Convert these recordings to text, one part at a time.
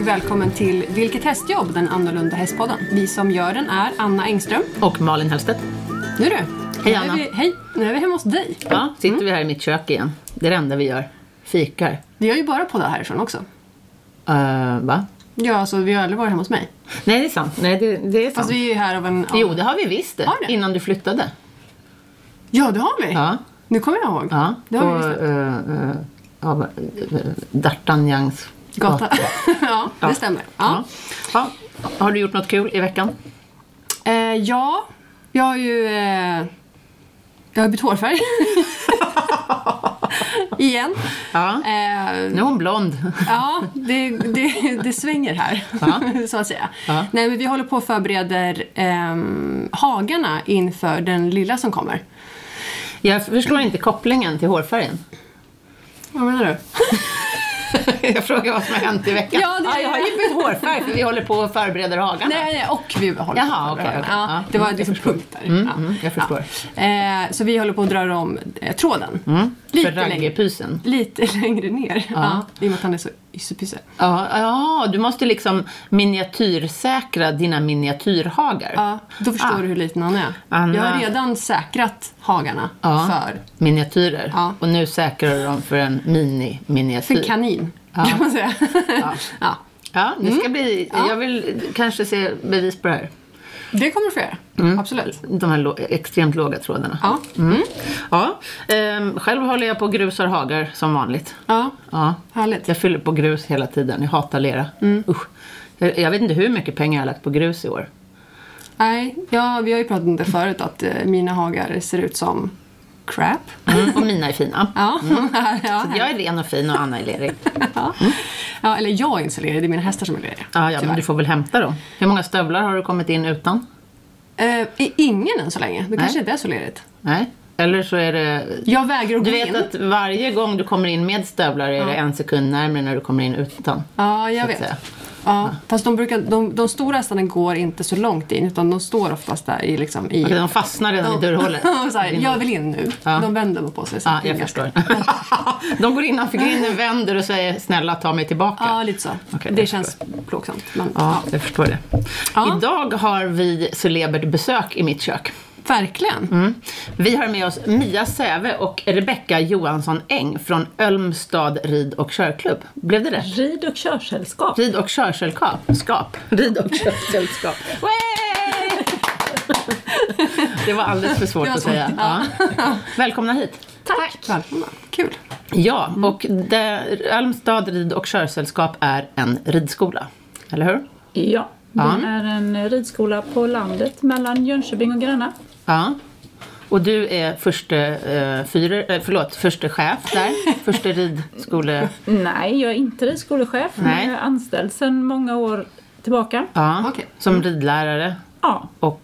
välkommen till Vilket hästjobb? Den annorlunda hästpodden. Vi som gör den är Anna Engström. Och Malin Hellstedt. Nu du! Hej, Nu är Anna. vi, hej! Nu är vi hemma hos dig. Ja, Mm. sitter vi här i mitt kök igen. Det är det enda vi gör. Fikar. Vi har ju bara poddat härifrån också. Eh, va? Ja, alltså vi har aldrig varit hemma hos mig. Nej, det är sant. Nej, det, det är sant. Fast vi är ju här av en... Av... Jo, det har vi visst det. Har det? Innan du flyttade. Ja, det har vi! Ja. Nu kommer jag ihåg. ja. Det har vi visst. På, eh, eh, av, eh, D'Artagnans Gata. ja, det Ja. stämmer. Ja. Ja. Har du gjort något kul i veckan? Ja, eh, ja jag har ju... Eh, jag har bytt hårfärg. Igen. Ja. Eh, Nu är hon blond. Ja, det, det, det svänger här, Ja. så att säga. Ja. Nej, men vi håller på och förbereder ehm, hagarna inför den lilla som kommer. Jag förstår inte kopplingen till hårfärgen. Vad menar du? Jag frågar vad som har hänt i veckan. Ja, det- jag har ju bytt hårfärg för vi håller på och förbereder hagarna. Nej, nej, och vi håller på. Jaha, och förbereder okej, hagarna. okej. Ja, Ja, det var mm, liksom punkter. ja. mm, jag förstår. Ja. Eh, så vi håller på att dra om eh, tråden. Lite, Mm. för längre, raggarpysen. lite längre ner. Ja. I och med att han är så yssepysse. Ja, ja, du måste liksom miniatyrsäkra dina miniatyrhagar. Ja, då förstår Ah. du hur liten han är. Anna. Jag har redan säkrat hagarna Ja, för, Miniatyrer. Ja. Och nu säkrar du dem för en för mini-miniatyr. kanin, kan man säga. ja. Ja, det Mm. ska bli... Jag vill kanske se bevis på det här. Det kommer du få göra. Mm. Absolut. De här lå- extremt låga trådarna. Ja. Mm. ja. Ehm, själv håller jag på och grusar hagar som vanligt. ja. Ja. Härligt. Jag fyller på grus hela tiden. Jag hatar lera. Mm. Usch. Jag, jag vet inte hur mycket pengar jag har lagt på grus i år. Nej, ja, vi har ju pratat om det förut att eh, mina hagar ser ut som crap. Mm. Och mina är fina. Ja, ja, Jag är ren och fin och Anna är lerig. ja. ja, eller jag är inte så lerig, det är mina hästar som är leriga. Mm. Ja, ja men tyvärr. du får väl hämta då. Hur många stövlar har du kommit in utan? Eh, är ingen än så länge, det kanske inte är så lerigt. Nej. Eller så är det... Jag vägrar att Du gå vet in. att varje gång du kommer in med stövlar är det en sekund närmare när du kommer in utan. Ja, jag att vet. säga. Ja, fast de, brukar, de, de stora hästarna går inte så långt in utan de står oftast där i... Liksom, i Okej, Alltså, De fastnar redan i dörrhålet. så här, jag vill in nu. De vänder på sig. Så Ja, att det är jag ganska- förstår. De går innanför grinden, vänder och säger snälla ta mig tillbaka. Ja, lite så. Okej, det jag känns plågsamt. Men, Ja, ja. jag förstår det. Ja. Idag har vi celebert besök i mitt kök. Verkligen. Mm. Vi har med oss Mia Säve och Rebecka Johansson Eng från Ölmstad rid och körklubb. Blev det rätt? Rid och körsällskap. Rid och körsällskap. Skap. Rid och körsällskap. Way! Det var alldeles för svårt Det var att svårt, säga. Ja. Välkomna hit. Tack! Välkomna. Kul. Ja, Mm. och det, Ölmstad rid och körsällskap är en ridskola. Eller hur? Ja, det Ja. Mm. är en ridskola på landet mellan Jönköping och Gränna. Ja. Och du är förste, eh, fyrer, eh, förlåt, förste chef där. Förste ridskole... Nej, jag är inte ridskolechef, Nej. men jag är anställd sedan många år tillbaka. Ja, Okej. Mm. som ridlärare. Ja, Och...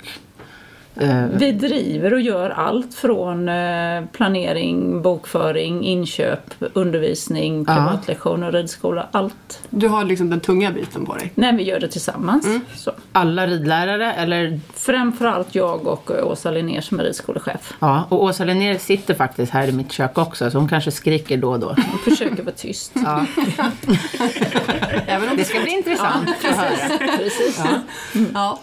Eh, vi driver och gör allt från eh, planering, bokföring, inköp, undervisning, privatlektion och ridskola. Allt. Du har liksom den tunga biten på dig. Nej, vi gör det tillsammans. Mm. Så. alla ridlärare, eller Framförallt jag och eh, Åsa Linnér som är ridskolechef. Ja, och Åsa Linnér sitter faktiskt här i mitt kök också, så hon kanske skriker då och då. Jag försöker vara tyst. Även om Det ska bli intressant att höra. Precis. Mm. Ja.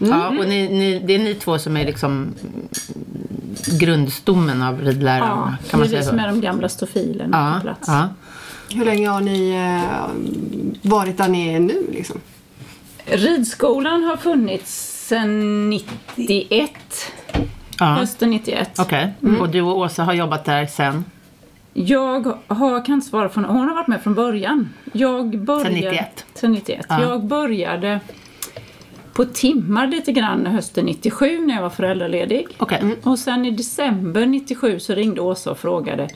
Mm. Ja, och ni, ni, det är ni två som är liksom grundstommen av ridlärarna, Ja, kan man det är säga vi som så? är de gamla stofilerna på Ja, plats. ja. Hur länge har ni eh, varit där ni är nu liksom? Ridskolan har funnits sedan 91. ja. Hösten 91. Okej, Mm. och du och Åsa har jobbat där sen? Jag har, kan inte svara från, hon har varit med från början. Jag började, 91. Sen 91. Ja. Jag började på timmar lite grann hösten 97 när jag var föräldraledig. Okej. Och sen i december 97 så ringde Åsa och frågade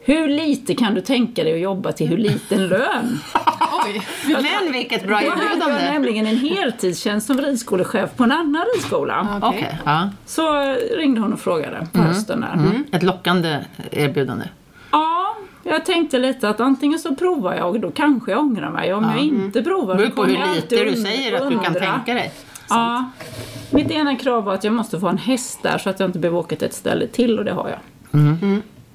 hur lite kan du tänka dig att jobba till hur liten lön? Oj! Men vilket bra Jag hade erbjudande! nämligen en heltidstjänst som ridskolechef på en annan ridskola. Okej, ja. Så ringde hon och frågade på hösten där. Mm. Ett lockande erbjudande. Ja, jag tänkte lite att antingen så provar jag och då kanske jag ångrar mig. Om jag inte provar Det Mm. beror så på kommer jag hur alltid lite du und- säger att du kan undra. tänka dig. Ja. Mitt ena krav var att jag måste få en häst där så att jag inte behöver åka till ett ställe till och det har jag.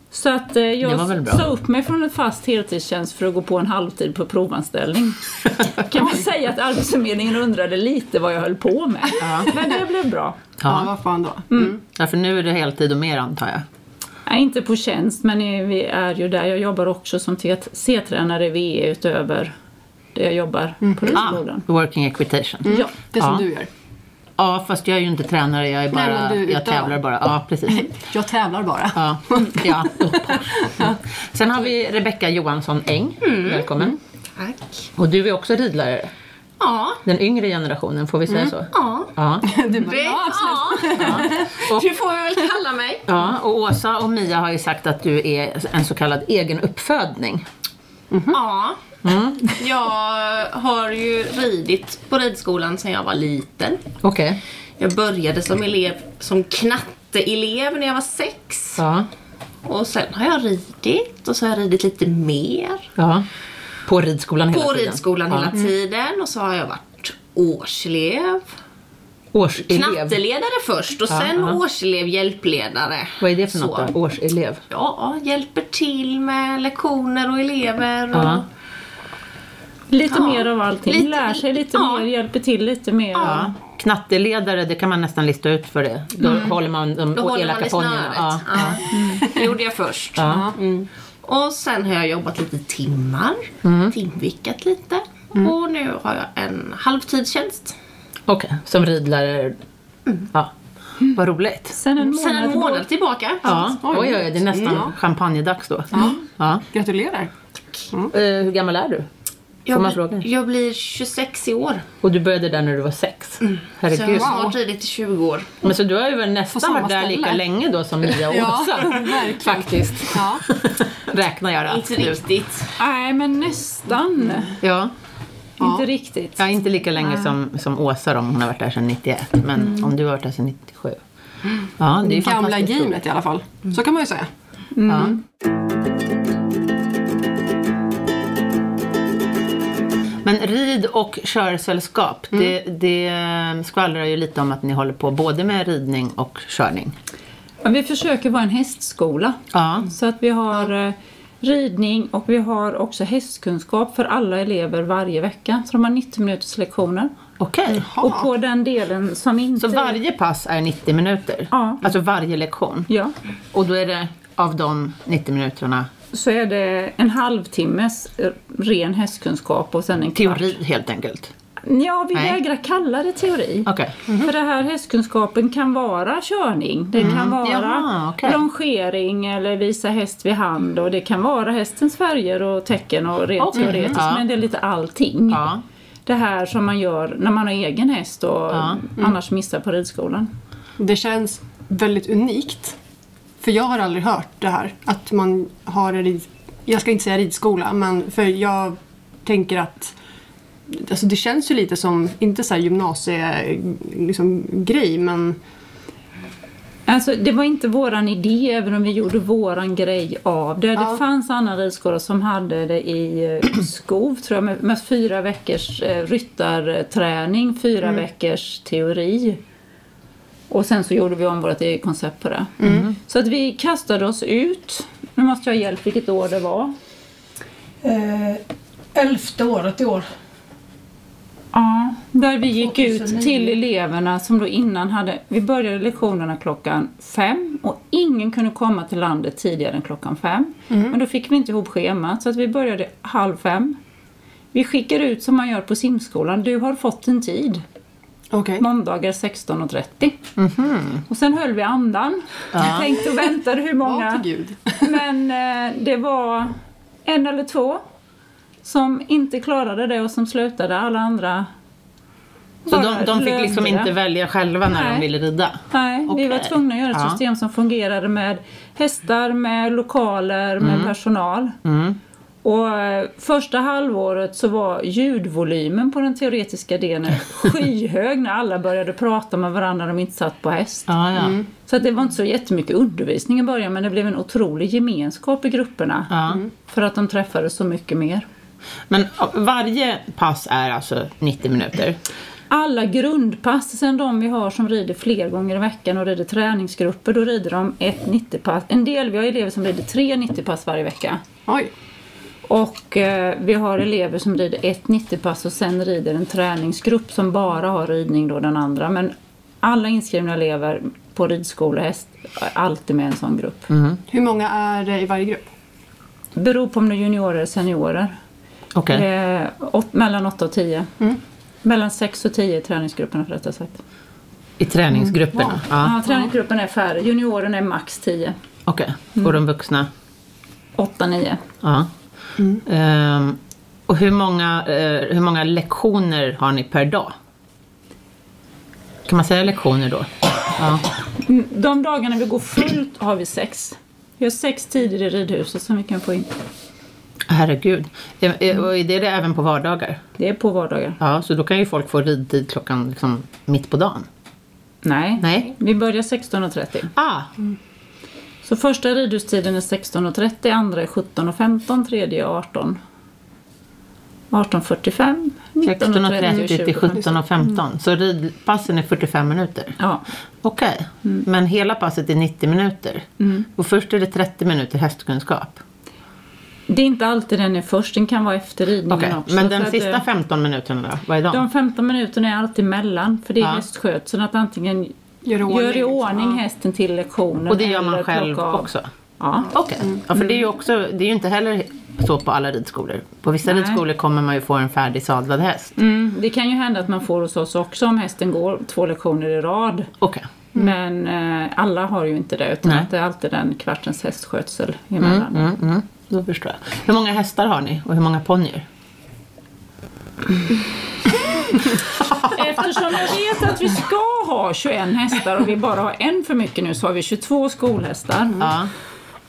Så att eh, Mm. Det var väl jag bra. sa upp mig från en fast heltidstjänst för att gå på en halvtid på provanställning. kan man säga att Arbetsförmedlingen undrade lite vad jag höll på med. Men det blev bra. Ja, Ja. vad fan då. ja, för nu är det heltid och mer antar jag. Nej, inte på tjänst, men eh, vi är ju där. Jag jobbar också som T- C-tränare i VE utöver det jag jobbar på högskolan. Ah, working equitation. Ja. Mm. Det som Ja. du gör. Ja, fast jag är ju inte tränare, jag, är Nej, bara, men du jag utövar. tävlar bara. Ja, precis. Jag tävlar bara. Ja, ja. Mm. Sen har vi Rebecka Johansson Eng. Mm. Välkommen. Tack. Och du är också ridlärare. Ja. Den yngre generationen, får vi säga så? Mm. Ja. Ja. Du bara, Det, ja, ja. Du får vi väl kalla mig. ja, och Åsa och Mia har ju sagt att du är en så kallad egen uppfödning. Mm. Ja. Jag har ju ridit på ridskolan sedan jag var liten. Okej. Jag började som elev, som knatteelev när jag var sex. Ja. Och sen har jag ridit och så har jag ridit lite mer. ja. På ridskolan hela På tiden? ridskolan ja. Mm. hela tiden och så har jag varit årselev. Årselev? Knatteledare först och sen ja. årselev, hjälpledare. Vad är det för Så. något då? Årselev? Ja, hjälper till med lektioner och elever. Och, Ja. Lite Ja. mer av allting. Lite- Lär sig lite ja. mer, hjälper till lite mer. Mm. Ja. Knatteledare, det kan man nästan lista ut för det. Då håller man de Då håller man elaka i ponnyerna. snöret. Ja. Ja. Det gjorde jag först. Ja. Mm. Och sen har jag jobbat lite timmar, Mm. timvickat lite. Och nu har jag en halvtidstjänst. Okej, som ridlärare. Ja. Mm. Vad roligt. Sen en månad, Sen en månad tillbaka. Ja. Oj, Oj. oj, oj, det är nästan champagnedags då. Ja. gratulerar. Eh, hur gammal är du? Jag, Får man bli- fråga? jag blir 26 i år. Och du började där när du var sex? Så jag har Herregud. snart ridit i 20 år. Men så du har ju väl nästan samma varit där ställe. lika länge då som Mia och Ja, Åsa? verkligen. Faktiskt. Ja. Räknar jag rätt? Inte riktigt. Nej, men nästan. Ja. Inte riktigt. ja, inte lika länge som, som Åsa då, om hon har varit där sedan 91. Men om du har varit där sedan 97. Ja, det är ju Gamla fantastiskt roligt. gamet i alla fall. Så kan man ju säga. Ja. Mm. Men rid och körsällskap, Mm. det, det skvallrar ju lite om att ni håller på både med ridning och körning. Ja, Vi försöker vara en hästskola. Ja, Så att vi har eh, ridning och vi har också hästkunskap för alla elever varje vecka. Så de har 90 minuters lektioner. okej. Och på den delen som inte... Så varje pass är 90 minuter? Ja. Alltså varje lektion? Ja, Och då är det av de 90 minuterna så är det en halvtimmes eh, ren hästkunskap och sen en kvart. teori helt enkelt? Ja, vi Nej. vägrar kalla det teori. Okej. Mhm. För det här hästkunskapen kan vara körning, det kan vara Mm. Jaha, okej. longering eller visa häst vid hand och det kan vara hästens färger och tecken och rent Okej. teoretiskt Ja. men det är lite allting. Ja. Det här som man gör när man har egen häst och Ja. Mm. annars missar på ridskolan. Det känns väldigt unikt. För jag har aldrig hört det här. Att man har en rid... Jag ska inte säga ridskola, men för jag tänker att Alltså det känns ju lite som, inte så här gymnasiegrej, liksom, grej, men Alltså, det var inte våran idé, även om vi gjorde våran grej av det. Det fanns annan ridskola som hade det i eh, skov, tror jag, med, med fyra veckors eh, ryttarträning, fyra veckors teori. Och sen så gjorde vi om vårt eget koncept på det. Så att vi kastade oss ut. Nu måste jag ha hjälp vilket år det var. Eh, elfte året i år. Ja, där vi gick ut 2009. till eleverna som då innan hade... Vi började lektionerna klockan fem och ingen kunde komma till landet tidigare än klockan fem. Men då fick vi inte ihop schemat så att vi började halv fem. Vi skickar ut som man gör på simskolan. Du har fått en tid. okej. Måndagar 16.30. Och sen höll vi andan. Jag tänkte och väntade hur många... Ja, till gud. Men eh, det var en eller två som inte klarade det och som slutade. Alla andra Så bara de, de fick löpte liksom det. inte välja själva när de Nej. ville rida? Nej, vi var Okej. tvungna att göra ett Ja. system som fungerade med hästar, med lokaler, med Mm. personal. Och eh, första halvåret så var ljudvolymen på den teoretiska delen skyhög när alla började prata med varandra när de inte satt på häst. Ja, ja. Så att det var inte så jättemycket undervisning i början men det blev en otrolig gemenskap i grupperna. Ja. För att de träffades så mycket mer. Men varje pass är alltså 90 minuter? alla grundpass, sen de vi har som rider fler gånger i veckan och rider träningsgrupper, då rider de ett 90-pass. En del, vi har elever som rider tre 90-pass varje vecka. Oj. Och eh, vi har elever som rider ett 90-pass och sen rider en träningsgrupp som bara har ridning då den andra. Men alla inskrivna elever på ridskola och häst är alltid med i en sån grupp. Hur många är det i varje grupp? Beror på om det är juniorer eller seniorer. Okej. Eh, åt, mellan 8 och 10. Mellan 6 och 10 i träningsgrupperna för detta sagt. I träningsgrupperna? Ja. Mm. Ja, träningsgruppen är färre. Junioren är max 10. Okej. Och de vuxna? 8, 9. Ja. Mm. Ehm, och hur många, eh, hur många lektioner har ni per dag? Kan man säga lektioner då? Ja. Mm, De dagarna vi går fullt har vi 6. Vi har 6 tider i ridhuset som vi kan få in. Herregud. Eh, eh, Och är det, det även på vardagar? Det är på vardagar. Ja, så då kan ju folk få ridtid klockan liksom mitt på dagen. Nej. Nej. Vi börjar 16.30. Ah, Mm. Så första ridhustiden är 16.30, andra är 17.15, tredje är 18. 18.45, 19.30 16.30 och till 20. 17.15. Så ridpassen är 45 minuter? Ja, Okej, Mm. men hela passet är 90 minuter. Och först är det 30 minuter hästkunskap. Mm, det är inte alltid den är först, den kan vara efter ridningen Okej, också. Men Så den att, eh, sista 15 minuterna då? Vad är de? De 15 minuterna är alltid mellan för det är Ja. hästskötseln att antingen Gör i ordning, gör i liksom. ordning hästen till lektionen Och det gör eller man själv plocka av. Mm. också? Ja. Okej, ja, för det är ju också, det är ju inte heller så på alla ridskolor. På vissa Nej. ridskolor kommer man ju få en färdig sadlad häst. Mm, det kan ju hända att man får hos oss också om hästen går två lektioner i rad. Okej, Men eh, alla har ju inte det utan Mm. Nej. att det är alltid den kvartens hästskötsel emellan. mm, mm, då förstår jag. Hur många hästar har ni och hur många ponnyer? Eftersom jag vet att vi ska ha 21 hästar och vi bara har en för mycket nu så har vi 22 skolhästar. Ja.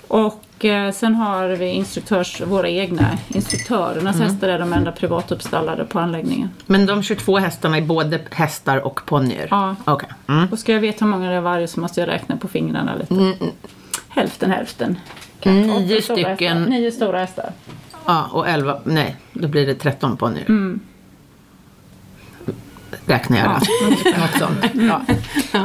Och eh, sen har vi instruktörs, våra egna instruktörernas hästar är de enda privatuppstallade på anläggningen. Men de 22 hästarna är både hästar och ponnyer? Ja. Okej. Mm. Och ska jag veta hur många det är varje så måste jag räkna på fingrarna lite. Hälften hälften. Nio Åtta stora hästar. stycken Nio stora hästar. ja, och 11, nej, då blir det 13 ponnyer. Mm. Räknar jag då. Något sånt. Ja.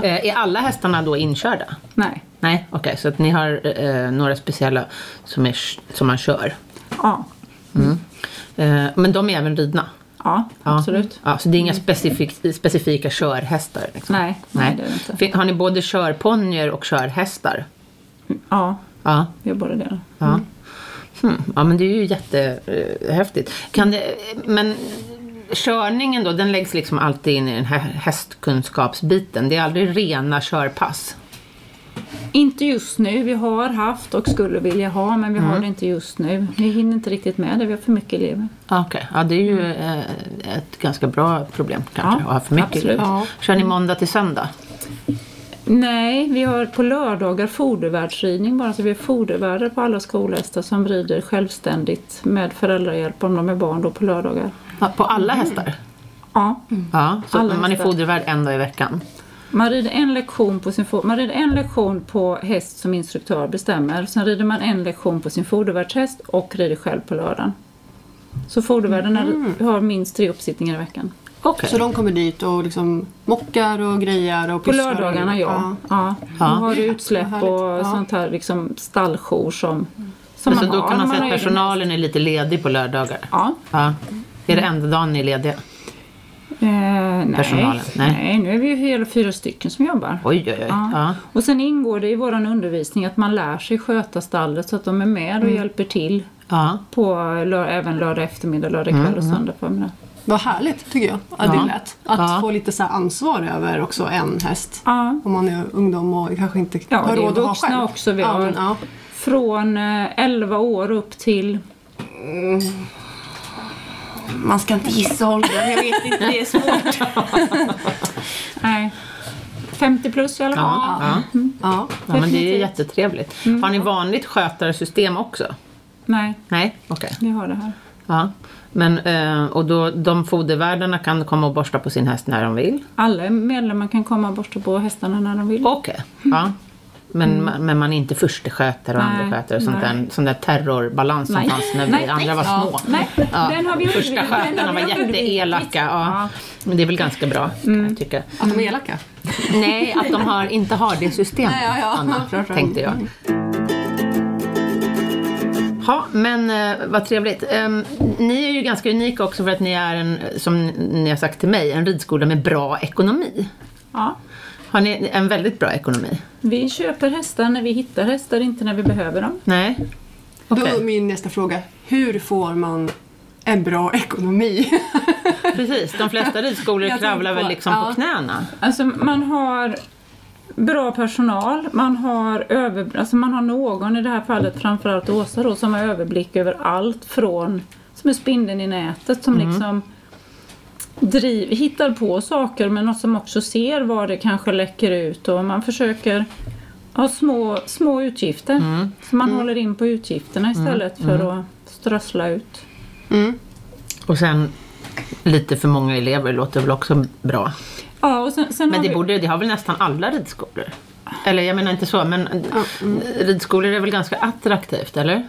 Eh, Är alla hästarna då inkörda? Nej. Nej, okej. så att ni har eh, några speciella som, är, som man kör. Ja. Eh, men de är även ridna? Ja, Ja. absolut. Ja, så det är inga specifik, specifika körhästar? Liksom. Nej, nej, det är det inte. Fin- Har ni både körponnyer och körhästar? Ja, Ja. vi har både det. Ja. Hmm. ja, men det är ju jättehäftigt. Kan det, men körningen då, den läggs liksom alltid in i den här hästkunskapsbiten. Det är aldrig rena körpass. Inte just nu. Vi har haft och skulle vilja ha men vi har det inte just nu. Vi hinner inte riktigt med det. Vi har för mycket elever. Ah, Okej, ja, det är ju eh, ett ganska bra problem kanske Ja, att ha för mycket. absolut. Ja. Kör ni måndag till söndag? Nej, vi har på lördagar fodervärdsridning bara. Så vi är fodervärdar på alla skolhästar som rider självständigt med föräldrahjälp om de är barn då på lördagar. Ja, På alla hästar? Ja. Ja, så Mm. Alla man är hästar. fodervärd en dag i veckan? Man rider en lektion på sin, fo- man rider en lektion på häst som instruktör bestämmer. Sen rider man en lektion på sin fodervärdshäst och rider själv på lördagen. Så fodervärden är- har minst tre uppsittningar i veckan. Okej. Så de kommer dit och liksom mockar och grejar och På pysslar och- lördagarna ja. ja. Då Ja. har du utsläpp och Härligt. Ja. sånt här liksom stalljour som, som Men så då har kan när man säga har att egen häst. personalen är lite ledig på lördagar? Ja. Ja. Är Mm. det enda dagen ni är lediga? Eh, nej. Personalen, nej. nej. nu är vi ju hela fyra stycken som jobbar. Oj, oj, oj. Ja. Ja. Och sen ingår det i vår undervisning att man lär sig sköta stallet så att de är med Mm. och hjälper till Ja. på lör- även lördag eftermiddag, lördag kväll Mm, och söndag förmiddag. Vad härligt tycker jag att Ja. det lät. Att Ja. få lite så här ansvar över också en häst. Ja. Om man är ungdom och kanske inte Ja, har det är råd att ha vuxna själv. också. Vi ja, har men, ja. från eh, 11 år upp till... Man ska inte gissa åldern, jag vet inte, det är svårt. Nej, 50 plus i alla fall. Ja. Ja. Ja. Ja, men det är Definitivt. Mm. jättetrevligt. Har ni vanligt skötarsystem också? Nej, Nej, okej. vi har det här. Ja. Men, eh, och då, de fodervärdarna kan komma och borsta på sin häst när de vill? Alla medlemmar kan komma och borsta på hästarna när de vill. Okej. Ja. Men, man, men man är inte förstaskötare och Mm. Nej, andra skötare och sånt där, nej. sån där terrorbalans som Nej. fanns när vi Nej, andra var nej. små. Nej, den har vi undvikit. Första Den skötarna har var vi undvikit. jätteelaka. Ja. Men det är väl ganska bra, kan Mm. jag tycka. Att de är elaka? Nej, att de har, inte har det systemet, Ja, ja, ja. Anna, Klart, klart. tänkte jag. Ja, men eh, vad trevligt. Ehm, ni är ju ganska unika också för att ni är, en, som ni har sagt till mig, en ridskola med bra ekonomi. Ja. Har ni en väldigt bra ekonomi? Vi köper hästar när vi hittar hästar, inte när vi behöver dem. Nej? Okej, Då är min nästa fråga, hur får man en bra ekonomi? precis. De flesta ridskolor Jag kravlar tänkte väl på- liksom ja. på knäna. Alltså man har bra personal, man har, över, alltså man har någon, i det här fallet framförallt Åsa då, som har överblick över allt från, som är spindeln i nätet som Mm. liksom driv, hittar på saker men som också ser var det kanske läcker ut och man försöker ha små, små utgifter. Mm. Så man håller in på utgifterna istället för att strössla ut. Och sen lite för många elever låter väl också bra. Ja, och sen, sen Men har det, vi- borde, det har väl nästan alla ridskolor? Eller jag menar inte så, men mm. ridskolor är väl ganska attraktivt, eller? Mm,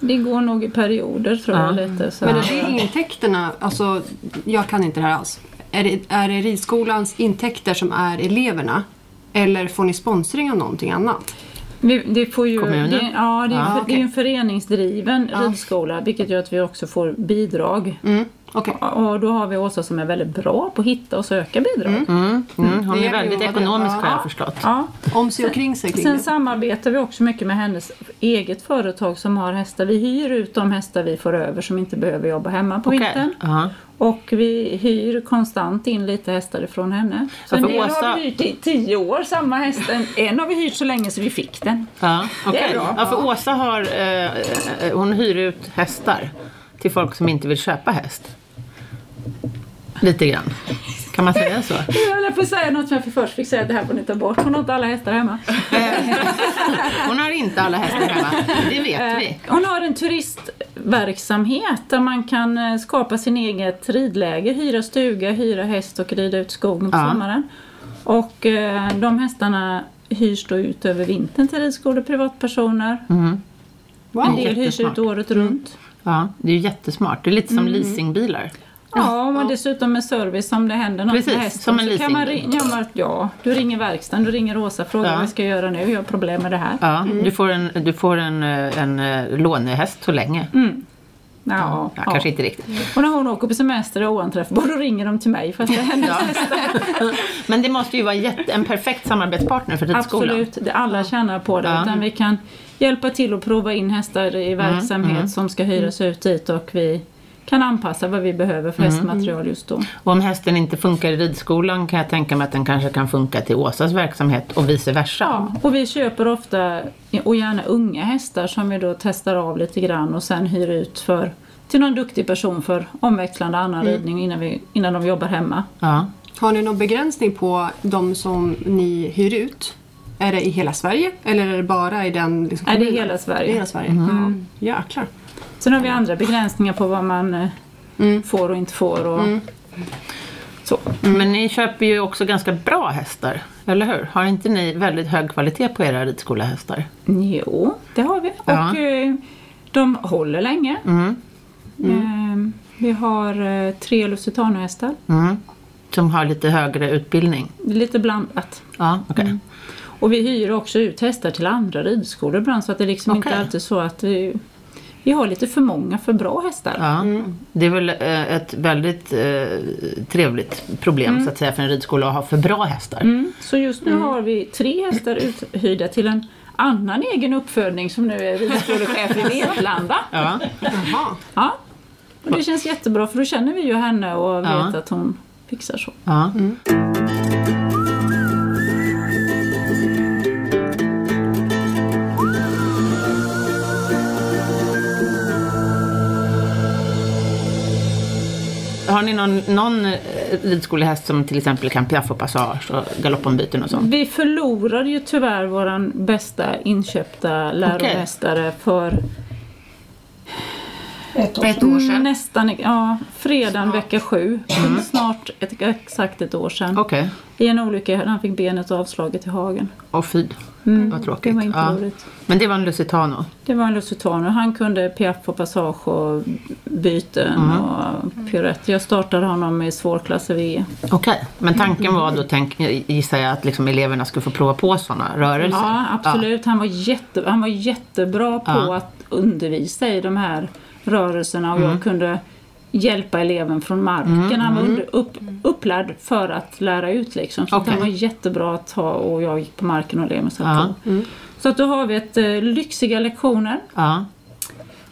det går nog i perioder tror Ja. jag lite. Så. Men är det intäkterna, alltså jag kan inte det här alls. Är det, är det ridskolans intäkter som är eleverna? Eller får ni sponsring av någonting annat? Vi, det får ju, Kommunen? Det, ja, det, är, Ja, för- det är okej. ju en föreningsdriven ridskola vilket gör att vi också får bidrag. Mm, okej. Och då har vi Åsa som är väldigt bra på att hitta och söka bidrag. Mm. Mm. Hon Det är gäller ju väldigt att vara det. ekonomisk har jag Ja. förstått. Ja. Om sig och kring sig kring Sen det. samarbetar vi också mycket med hennes eget företag som har hästar. Vi hyr ut de hästar vi får över som inte behöver jobba hemma på Okej. vintern. Ja. Och vi hyr konstant in lite hästar ifrån henne. Så en för del Åsa- har vi hyrt i tio år, samma häst. En- En har vi hyrt så länge så vi fick den. Ja. okej. bra. Ja, för Åsa har, eh, eh, hon hyr ut hästar till folk som inte vill köpa häst. Lite grann. Kan man säga så? Jag höll på att säga något som jag först fick säga, det här får ni ta bort. Hon har inte alla hästar hemma. Hon har inte alla hästar hemma, det Eh. vet vi. Hon har en turistverksamhet där man kan eh, skapa sin eget ridläger, hyra stuga, hyra häst och rida ut skogen på Ja. sommaren. Och eh, de hästarna hyrs då ut över vintern till ridskolor, privatpersoner. En Wow. del hyrs Mm. jättesmart. ut året runt. Ja, det är ju jättesmart. Det är lite som Mm. leasingbilar. Ja, och dessutom med service om det händer något Mm. Precis, med hästen. som en så kan man leasing. ringa, ja, men, ja, du ringer verkstaden, du ringer Åsa och frågar Ja. vad jag ska göra nu, jag har problem med det här. Ja, Mm. du får, en, du får en, eh, en eh, lånehäst så länge. Ja, Ja, Kanske inte riktigt. Och när hon åker på semester och är oanträffbar då ringer de till mig för att det händer Ja. Men det måste ju vara jätte, en perfekt samarbetspartner för ridskolan. Absolut, det alla tjänar på det. Ja. Utan vi kan hjälpa till att prova in hästar i verksamhet som ska hyras ut dit och vi kan anpassa vad vi behöver för hästmaterial just då. Och om hästen inte funkar i ridskolan kan jag tänka mig att den kanske kan funka till Åsas verksamhet och vice versa. Ja, och vi köper ofta, och gärna unga hästar som vi då testar av lite grann och sen hyr ut för till någon duktig person för omväxlande annan ridning innan, vi, innan de jobbar hemma. Ja. Har ni någon begränsning på de som ni hyr ut? Är det i hela Sverige eller är det bara i den liksom, Nej, det är kommunen? hela Det är Sverige. hela Sverige? Ja, jäklar. Sen har vi andra begränsningar på vad man eh, Mm. får och inte får. Och, Så. Men ni köper ju också ganska bra hästar, eller hur? Har inte ni väldigt hög kvalitet på era ridskolehästar? Jo, det har vi. Ja. Mm. Och eh, de håller länge. Eh, Vi har eh, tre lusitanhästar. Mm. Som har lite högre utbildning? Lite blandat. Ja, okej. Och vi hyr också ut hästar till andra ridskolor ibland så att det är liksom Okej. inte alltid så att vi, vi har lite för många för bra hästar. Ja, det är väl eh, ett väldigt eh, trevligt problem så att säga för en ridskola att ha för bra hästar. Mm. Så just nu har vi tre hästar uthyrda till en annan egen uppfödning som nu är ridskolechef i Vetlanda. Ja. Jaha. Ja. Och det känns jättebra för då känner vi ju henne och vet Ja. att hon fixar så. Ja. Mm. Har ni någon, någon eh, ridskolehäst som till exempel kan piaff och passage och galoppombyten och sånt? Vi förlorade ju tyvärr våran bästa inköpta läromästare för Ett år För sedan. ett år Mm, sedan. nästan, ja, fredagen Snart. Mm. vecka sju. Snart ett, exakt ett år sedan. Okej. I en olycka, han fick benet avslaget i hagen. Åh fy. Vad tråkigt. Mm, Det var inte Ja. roligt. Men det var en Lusitano. Det var en lusitan och han kunde piaff och passage och byten Mm. och piruett. Jag startade honom i svårklass i VE. Okej. Men Mm. tanken var då, tänk, gissar jag, att liksom eleverna skulle få prova på sådana rörelser? Ja, absolut. Han, var jätte, han var jättebra på Ja. att undervisa i de här rörelserna och Mm. jag kunde hjälpa eleven från marken. Han var under, upp, upplärd för att lära ut liksom. Så att Okej. han var jättebra att ta och jag gick på marken och eleven satt Ja. Mm. på. Så att då har vi ett eh, lyxiga lektioner. Ja.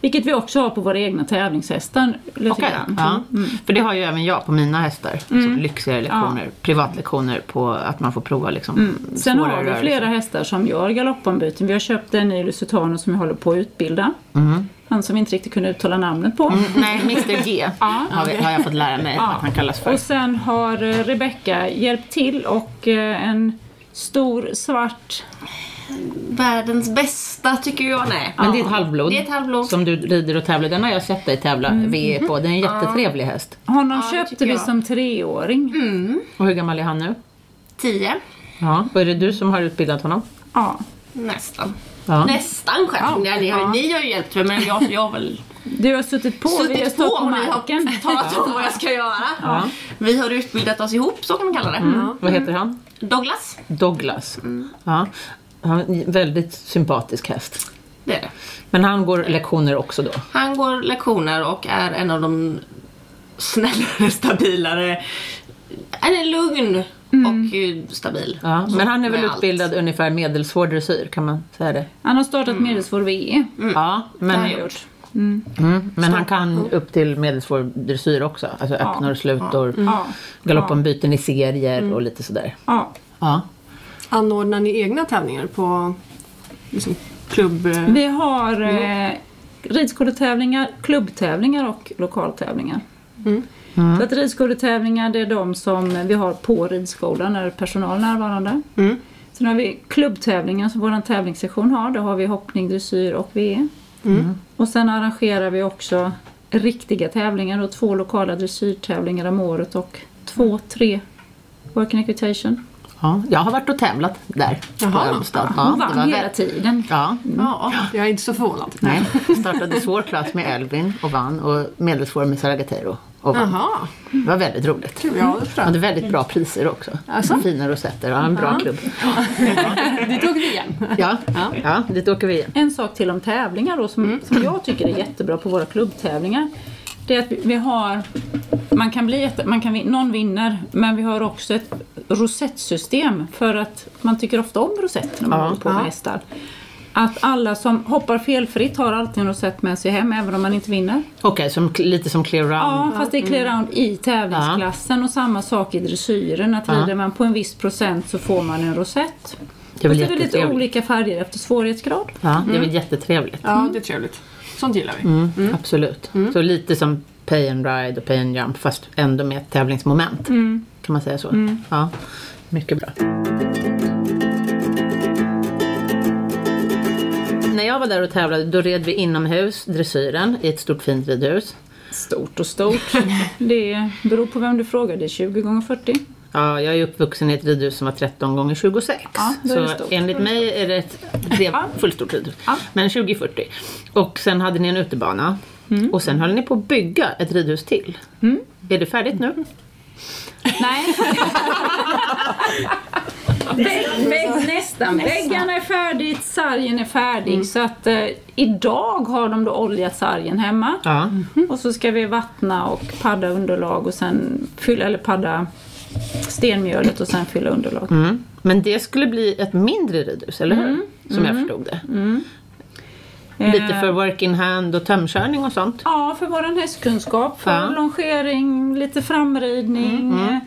Vilket vi också har på våra egna tävlingshästar. Lite Okej, grann. ja. Mm. För det har ju även jag på mina hästar. Mm. Så lyxigare lektioner, privatlektioner på att man får prova liksom Mm. Sen svårare har vi rörelser. flera hästar som gör galoppombyten. Vi har köpt en ny Lusitano som vi håller på att utbilda. Han som vi inte riktigt kunde uttala namnet på. Mm, Nej, Mr G har, vi, har jag fått lära mig Ja. att han kallas för. Och sen har eh, Rebecca hjälpt till och eh, en stor svart... Världens bästa tycker jag. Nej. Men det är ett halvblod, Det är ett halvblod. som du rider och tävlar. Den har jag sett dig tävla Mm. VE på. Det är en jättetrevlig häst. Honom det köpte tycker vi jag. Mm. som treåring. Och hur gammal är han nu? Tio. Ja. Och är det du som har utbildat honom? Ja, Nästan. Ja. Nästan själv. Ja. Ni, har, ni har ju hjälpt mig men jag, jag har väl du har suttit på. vi har suttit på stått på och ni marken. har talat om vad jag ska göra. Vi har utbildat oss ihop, så kan man kalla det. Mm. Vad heter han? Douglas, Douglas. Ja. Han är en väldigt sympatisk häst. det är det. Men han går lektioner också då? Han går lektioner och är en av de snällare, stabilare. Han är lugn Mm. och eh, stabil. Ja, men han är väl Med allt. utbildad ungefär medelsvår dressyr, kan man säga det? Han har startat Mm. medelsvår E. VE. Ja, men, har jag gjort. mm, men han kan upp till medelsvår dressyr också. Alltså öppnor, slutor, Ja. Mm. galoppenbyten i serier och lite sådär. Ja. Ja. Anordnar ni egna tävlingar på liksom, klubb... eh, Vi har eh, ridskoletävlingar, klubbtävlingar och lokaltävlingar. Mm. Så att ridskoletävlingar det är de som vi har på ridskolan när det är personal närvarande. Mm. Sen har vi klubbtävlingar som vår tävlingssektion har. Då har vi hoppning, dressyr och VE. Mm. Och sen arrangerar vi också riktiga tävlingar och två lokala dressyrtävlingar om året och två, tre Work and equitation. Ja, jag har varit och tävlat där Jaha. på Halmstad. Ja, Hon det var vann hela väl- tiden. Ja, Ja. Jag är inte så förvånad. nej. Jag startade svår klass med Elvin och vann och medelsvår med Saragateiro och vann. Jaha, Mm. Det var väldigt roligt. kul. Ja, det Han förstår jag. hade väldigt bra priser också. Alltså? Fina rosetter och en bra klubb. Det tog vi igen. Ja, ja, dit åker vi igen. En sak till om tävlingar då som, som Mm. jag tycker är jättebra på våra klubbtävlingar. Det är att vi- vi har, man kan bli, jätte- man kan, vin- någon vinner men vi har också ett rosettsystem för att man tycker ofta om rosetter när man Ja. håller på med Ja. hästar. Att alla som hoppar felfritt har alltid en rosett med sig hem även om man inte vinner. Okej, som, lite som clear round. Ja, fast det är clear Mm. round i tävlingsklassen och samma sak i dressyren. Att Ja. rider man på en viss procent så får man en rosett. Det är Och väl så är det lite jättetrevligt. olika färger efter svårighetsgrad. Ja, det är väl jättetrevligt. Ja, det är trevligt. Sånt gillar vi. Mm, Absolut. Så lite som pay and ride och pay and jump fast ändå med ett tävlingsmoment. Kan man säga så? Ja, mycket bra. När jag var där och tävlade då red vi inomhus dressyren i ett stort fint ridhus. Stort och stort. Det beror på vem du frågar. Det är 20 gånger 40. Ja, jag är uppvuxen i ett ridhus som var 13 gånger 26. Ja, då är det så stort. enligt mig är det ett det är fullstort ridhus. Ja. Men 2040. Och sen hade ni en utebana. Mm. Och sen höll ni på att bygga ett ridhus till. Är det färdigt nu? Nej. Vägg, vägg, nästan. Väggarna är färdigt, sargen är färdig. Mm. Så att eh, idag har de då oljat sargen hemma. Mm. Ja. Och så ska vi vattna och padda underlag och sen fylla, eller padda stenmjölet och sen fylla underlag. Mm. Men det skulle bli ett mindre ridhus, eller hur? Mm. Som jag förstod det. Lite Eh, för work in hand och tömkörning och sånt. Ja, för vår hästkunskap, för Ja. Mm, longering, lite framridning. eh,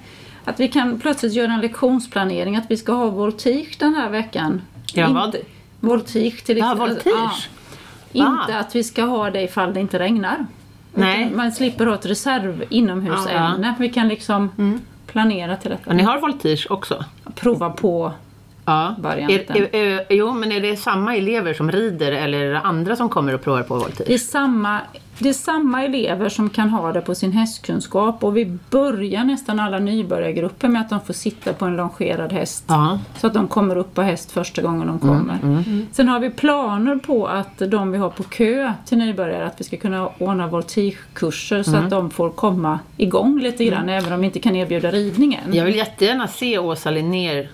Att vi kan plötsligt göra en lektionsplanering, att vi ska ha voltige den här veckan. Ja, Inte- vad? Voltige till Ja, exempel. voltige. Inte Ah. att vi ska ha det ifall det inte regnar. Nej. Utan Man slipper ha ett reserv inomhusämne. Vi kan liksom Mm. planera till Och detta. ni har voltige också? Prova på. Ja. Varianten. Är, är, är, jo, men är det samma elever som rider eller är det andra som kommer och provar på voltige? Det är samma det är samma elever som kan ha det på sin hästkunskap och vi börjar nästan alla nybörjargrupper med att de får sitta på en longerad häst. Ja. Så att de kommer upp på häst första gången de kommer. Sen har vi planer på att de vi har på kö till nybörjare, att vi ska kunna ordna voltigekurser så att de får komma igång lite grann även om vi inte kan erbjuda ridningen. Jag vill jättegärna se Åsa Linnér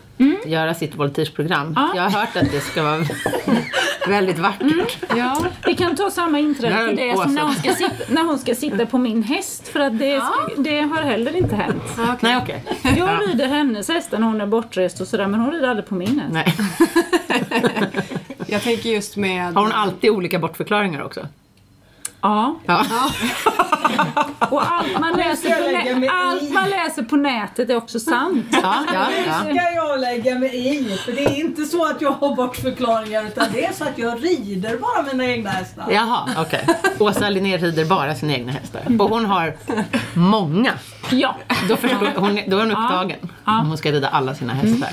göra sitt voltigeprogram. Mm. Ja. Mm. Jag har hört att det ska vara väldigt vackert. Ja, Vi kan ta samma inträde Nej, till det som när hon, Åsa. ska sitta, när hon ska sitta på min häst för att det, det har heller inte hänt. Nej, okej. Ja. Jag rider hennes hästar när hon är bortrest och sådär men hon rider aldrig på min häst. Nej. jag tänker just med... Har hon alltid olika bortförklaringar också? Ja. Ja. Och allt man, läser jag lägga på mig nä- i? allt man läser på nätet är också sant. Ja, ja, ja. ska jag lägga mig i. För det är inte så att jag har bortförklaringar utan det är så att jag rider bara mina egna hästar. Jaha, okej. Åsa Linnér rider bara sina egna hästar. Mm. Och hon har många. Ja. Då, förstår, hon, då är hon upptagen. Ja. Mm. om Hon ska rida alla sina hästar.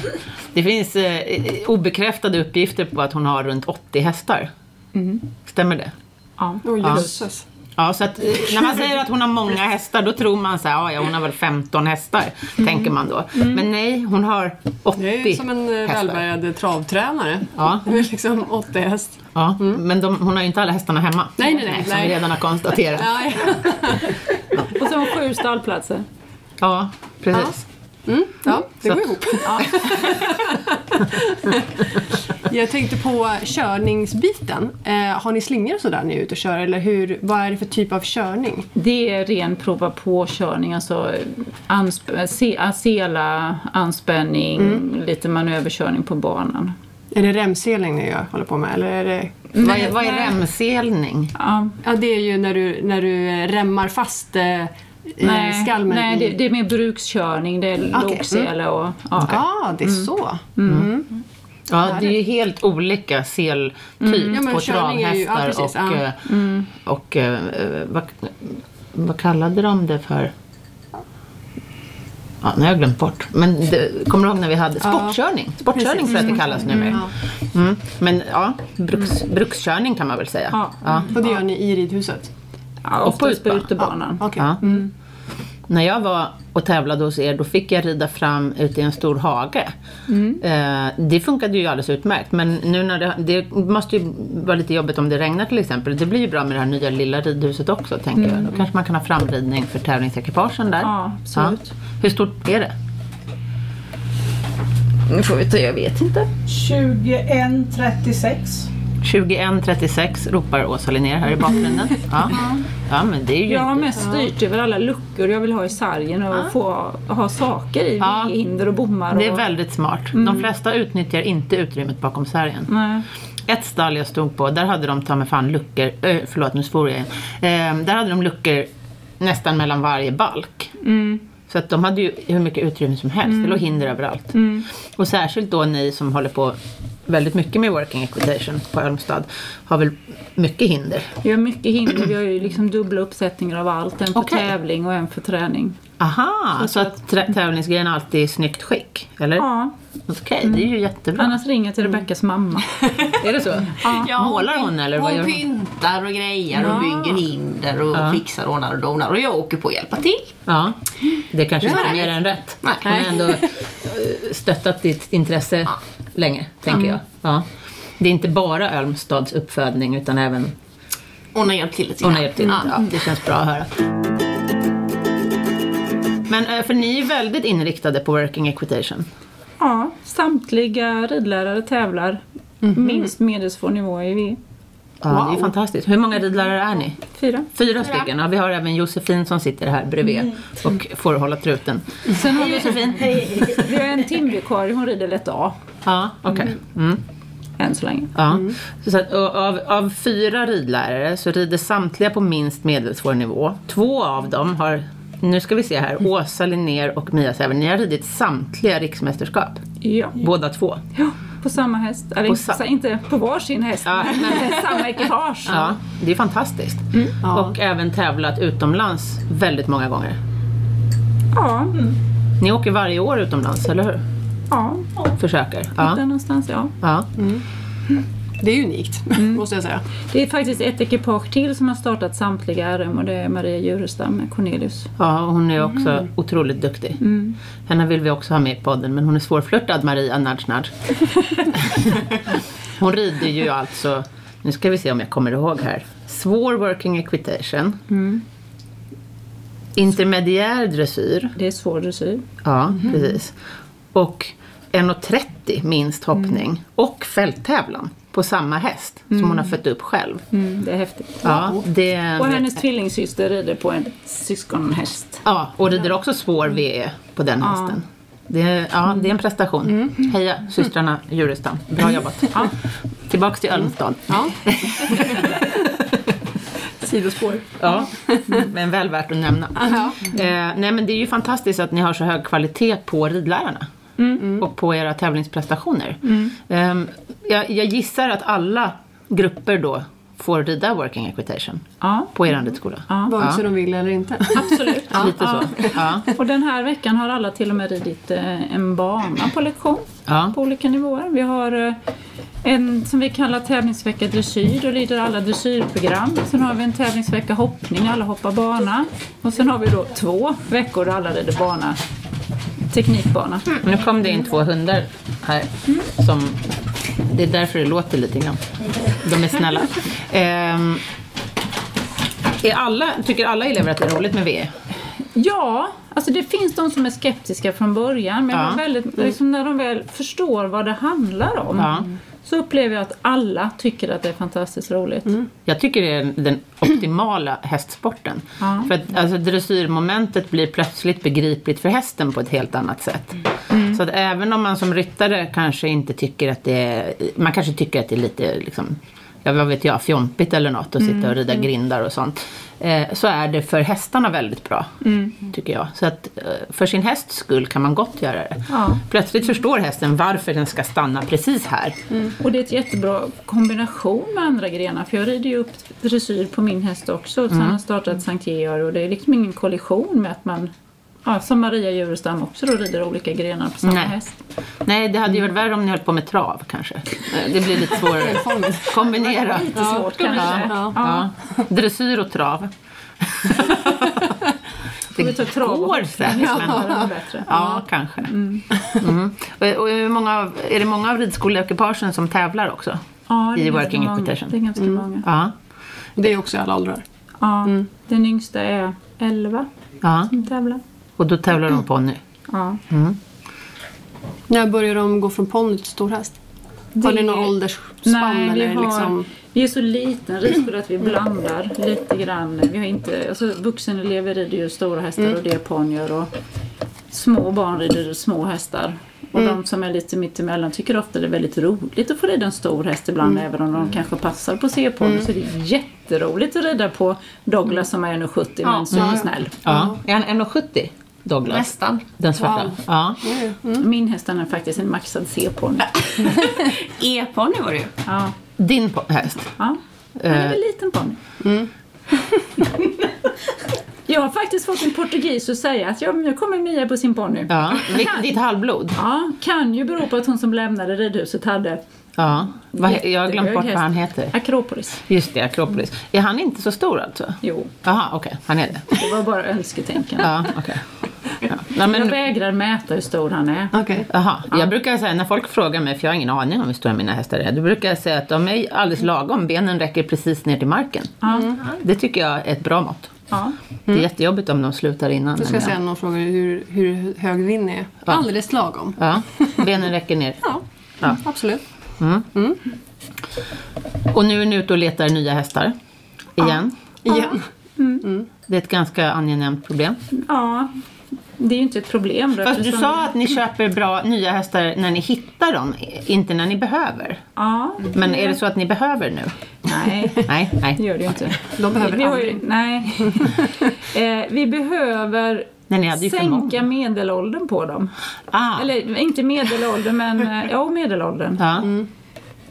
Det finns eh, obekräftade uppgifter på att hon har runt 80 hästar. Mm. Stämmer det? ja. Åh, Ja. jösses. Ja, så att, eh, när man säger att hon har många hästar, då tror man så här, "Ah, ja hon har väl 15 hästar, tänker man då. Men nej, hon har 80 Mm. Det är som en eh, hästar. välbärgad travtränare. Ja. Det är liksom 80 häst. Ja, Men de, hon har ju inte alla hästarna hemma. Nej, nej, nej, Som Mm. nej. vi redan har konstaterat. Ja, Ja, Och så har hon sju stallplatser. precis. Mm, ja, det Så går att- ihop. jag tänkte på körningsbiten. Eh, har ni slingor och sådär när ni är ute och kör? Eller hur, vad är det för typ av körning? Det är ren prova på-körning, alltså ansp- se- sela, anspänning, Mm. lite manöverkörning på banan. Är det remseling ni gör, håller på med? Eller är det... Vad är, vad är remselning? Ja. Ja, det är ju när du, när du eh, remmar fast eh, i Nej, skalmen. nej i- det, det är mer brukskörning, det är Okej, Mm. loksele och... Ja. Ja, det är så. Ja, det är ju helt olika seltyp Mm. Ja, men på körning är ju- ja, travhästar precis, och, ja. Mm. eh, och eh, vad, vad kallade de det för? Ja, nu har jag glömt bort. Men det, kommer du ihåg när vi hade sportkörning? Sportkörning tror jag att det kallas numera. Mm. Men ja, bruks, brukskörning kan man väl säga. Ja. Ja. Och det gör ni i ridhuset? Ja, Och på oftast på utbanan. utebanan. Okej. Ja. Mm. När jag var och tävlade hos er, då fick jag rida fram ute i en stor hage. Mm. Eh, det funkade ju alldeles utmärkt, men nu när det, det måste ju vara lite jobbigt om det regnar till exempel. Det blir ju bra med det här nya lilla ridhuset också, tänker Mm. jag. Då kanske man kan ha framridning för tävlingsekipagen där. Ja, absolut. Hur stort är det? Nu får vi ta, jag vet inte. 2136. 21.36 ropar Åsa Linnér här i bakgrunden. Ja. ja, men det är ju... Jag har inte- mest styrt över alla luckor jag vill ha i sargen och få ha saker i, Ja. hinder och bommar. Och, Det är väldigt smart. De flesta utnyttjar inte utrymmet bakom sargen. Nej. Ett stall jag stod på, där hade de ta mig fan luckor, ö, förlåt nu svor jag igen. Ehm, där hade de luckor nästan mellan varje balk. Så att de hade ju hur mycket utrymme som helst, det låg hinder överallt. Och särskilt då ni som håller på väldigt mycket med working equitation på Halmstad har väl mycket hinder. Vi har mycket hinder, vi har ju liksom dubbla uppsättningar av allt. En för Okej. tävling och en för träning. Aha, så, att trä- tävlingsgrejen alltid är i snyggt skick, eller? Ja, Okej, det är ju jättebra. annars ringer Mm. jag till Rebeckas mamma. Är det så? Ja, hon Målar hon pyn- eller vad Hon gör hon? pyntar och grejer och bygger hinder och fixar, ordnar och donar. Och jag åker på att hjälpa till. Ja, det kanske inte är Nej. mer än rätt. Nej. Hon har ändå eh, stöttat ditt intresse länge, tänker jag. Ja. Det är inte bara Ölmstads uppfödning utan även Hon har hjälpt till lite hon har grann. hjälpt till. Ja. Ja, det känns bra att höra. Men eh, för ni är väldigt inriktade på working equitation. Ja, samtliga ridlärare tävlar Mhm. minst medelsvår nivå i V4. Ja, Det är fantastiskt. Hur många ridlärare är ni? Fyra Mm. stycken. Ja, vi har även Josefin som sitter här bredvid och får hålla truten. Sen har vi, vi har en timvikarie, hon rider lätt A Ja, okej. Mm. än så länge. Ja. Så att, och av, av fyra ridlärare så rider samtliga på minst medelsvår nivå. Två av dem har, nu ska vi se Mm. här, Åsa Linnér och Mia Säver. Ni har ridit samtliga riksmästerskap, Ja. båda två. ja, på samma häst. Eller På sa- inte på varsin häst, Ja, men samma ekipage. Ja, det är fantastiskt. Mm. Och även tävlat utomlands väldigt många gånger. Ja, Mm. Ni åker varje år utomlands, eller hur? ja. Försöker. Ja. Där någonstans, ja. ja. Det är unikt, måste jag säga. Det är faktiskt ett ekipage till som har startat samtliga RM och det är Maria Djurestam Cornelius. Ja, hon är också Mm. otroligt duktig. Henne vill vi också ha med i podden, men hon är svårflörtad Maria Nudge Nudge. hon rider ju alltså, nu ska vi se om jag kommer ihåg här, svår working equitation, Mm. intermediär dressyr, Det är svår dressyr. ja Mhm. precis, och 1,30 minst hoppning Mm. och fälttävlan på samma häst som hon har fött upp själv. Det är häftigt. Ja, det, Mm. Och hennes tvillingsyster rider på en syskonhäst. Ja, och rider också svår VE på den hästen. Det, ja, det är en prestation. Heja systrarna Djurestam. Bra jobbat. Mm. Ja. Tillbaks till Ölmstad. Ja. Sidospår. Ja, men väl värt att nämna. Eh, nej, men det är ju fantastiskt att ni har så hög kvalitet på ridlärarna. Och på era tävlingsprestationer. Eh, jag, jag gissar att alla grupper då får rida working equitation Ja. på er ridskola. Vare sig de vill eller inte. Absolut. Lite så. Mm. Ja. Och den här veckan har alla till och med ridit eh, en bana på lektion Ja. på olika nivåer. Vi har eh, en som vi kallar tävlingsvecka dressyr. Då rider alla dressyrprogram. Sen har vi en tävlingsvecka hoppning. Alla hoppar bana. Och sen har vi då två veckor där alla rider bana. Teknikbana. Mm. Nu kom det in två hundar här. Som, det är därför det låter lite grann. De är snälla. Ehm, är alla, tycker alla elever att det är roligt med VE? Ja, alltså det finns de som är skeptiska från början. Men Ja. jag var väldigt, liksom när de väl förstår vad det handlar om. Ja. Så upplever jag att alla tycker att det är fantastiskt roligt. Jag tycker det är den optimala hästsporten. Ja. För att alltså, dressyrmomentet blir plötsligt begripligt för hästen på ett helt annat sätt. Mm. Så att även om man som ryttare kanske inte tycker att det är, man kanske tycker att det är lite liksom, ja vad vet jag, fjompigt eller något att sitta Mm. och rida grindar och sånt. Eh, så är det för hästarna väldigt bra, Mm. tycker jag. Så att eh, för sin hästs skull kan man gott göra det. Ja. Plötsligt förstår hästen varför den ska stanna precis här. Och det är ett jättebra kombination med andra grenar för jag rider ju upp dressyr på min häst också och sen Mm. har jag startat Sankt Georg och det är liksom ingen kollision med att man Ja, som Maria Djurestam också då rider olika grenar på samma Nej. häst. Nej, det hade ju varit värre om ni höll på med trav kanske. Eh, Det blir lite svårare. Kombinera. Lite svårt kanske. Ja. Ja. Dressyr och trav. Får vi ta trav och går säkert. men- Ja. det var bättre. Ja, kanske. Mm. Och, och hur många, av- är det många av ridskoleekipagen som tävlar också? Ja, det är I ganska working många. equitation. Det är ganska många. Ja. Det är också i alla åldrar. Ja, Mm. Den yngsta är 11 ja. som tävlar. Och då tävlar de ponny. Ja. När börjar de gå från ponny till stor häst? Har Det- ni någon åldersspann? Nej, vi, eller har, liksom... vi är så liten ridskola att vi blandar lite grann. Vi har inte, alltså, vuxenelever rider ju stora hästar och det är ponnyer och små barn rider små hästar. Och de som är lite mittemellan tycker ofta det är väldigt roligt att få rida en stor häst ibland även om de kanske passar på C-ponny så det är jätteroligt att rida på Douglas som är 1,70 men supersnäll. Ja. Är han 1,70 Douglas? Nästan. Den svarta? Ja. Min häst den är faktiskt en maxad C-ponny. E-ponny var det ju. Ja. Din po- häst? Ja, han är Eh. väl liten ponny. Mm. jag har faktiskt fått en portugis att säga att ja, men nu kommer Mia på sin ponny. Ja. Ja. Vil- Ditt halvblod? kan ju bero på att hon som lämnade ridhuset hade Ja. Vad he- Jag har glömt bort vad han heter. Akropolis. Just det, Akropolis. Är han inte så stor alltså? Jo, Jaha, okej. Han är det. det var bara önsketänkande. Ja, okej. Ja. Nej, Jag men, vägrar mäta hur stor han är. Okej. aha. Jag brukar säga, när folk frågar mig, för jag har ingen aning om hur stora mina hästar är, då brukar jag säga att de är alldeles lagom. Benen räcker precis ner till marken. Mm. Det tycker jag är ett bra mått. Ja. Det är jättejobbigt om de slutar innan. Nu Mm. ska jag säga någon fråga hur, hur hög din är. Alldeles lagom. Ja, benen räcker ner. Ja, Ja. absolut. Och nu är ni ute och letar nya hästar. Igen. Igen. Det är ett ganska angenämt problem. ja, det är ju inte ett problem. Då, Fast du eftersom- sa att ni köper bra nya hästar när ni hittar dem, inte när ni behöver. Ja, Men är det så att ni behöver nu? nej. Nej, Det nej. gör det ju inte. De behöver vi, har ju, aldrig. Nej. eh, vi behöver Nej, ni hade ju för sänka många. medelåldern på dem. Ah. Eller inte medelåldern, men eh, ja, medelåldern. Ja.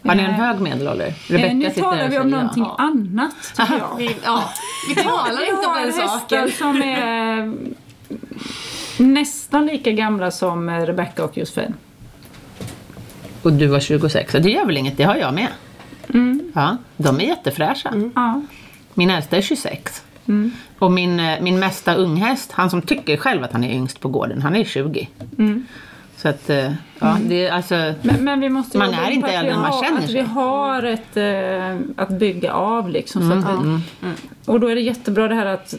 Har ni en hög medelålder? Rebecka Mm. Eh, nu sitter här talar och vi om säger någonting ja. annat, tycker jag. Vi, ja, vi talar inte om har den hästar saken. som är eh, nästan lika gamla som eh, Rebecca och Josefin. Och du var 26, det gör väl inget, det har jag med. Mm. Ja, de är jättefräscha. Ja. Min äldsta är 26. Mm. Och min, eh, min mesta unghäst, han som tycker själv att han är yngst på gården, han är 20. Mm. Så att, eh, ja, det är alltså... Men, men vi måste Man jobba är på inte att vi äldre än man har- känner att sig. Vi har ett, eh, att bygga av liksom. Mm. så att vi, Och då är det jättebra det här att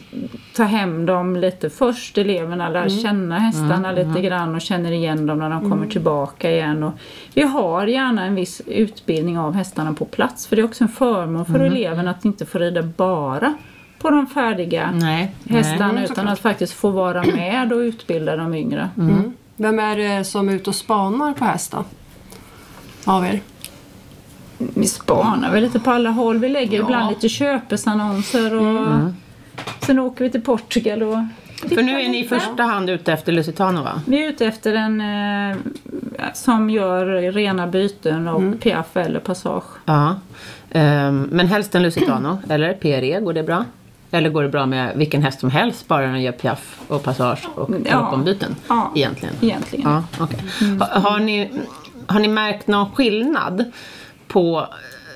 ta hem dem lite först, eleverna lär Mm. känna hästarna lite grann och känner igen dem när de kommer tillbaka igen. Och vi har gärna en viss utbildning av hästarna på plats för det är också en förmån för Mm. eleven att inte få rida bara på de färdiga Nej. hästarna Mm, utan såklart. att faktiskt få vara med och utbilda de yngre. Mm. Vem är det som är ute och spanar på hästar? Av er? Vi spanar väl lite på alla håll. Vi lägger ibland lite köpesannonser och Mm. sen åker vi till Portugal och För nu är ni i första hand ute efter Lusitano va? vi är ute efter en eh, som gör rena byten och Mm. piaff eller passage. Ja. Ehm, men helst en Lusitano, eller PRE, går det bra? Eller går det bra med vilken häst som helst, bara den gör piaff och passage och Ja. galoppombyten? Ja. Mm. Egentligen. Egentligen. Ja, okej. ha, har, ni, har ni märkt någon skillnad på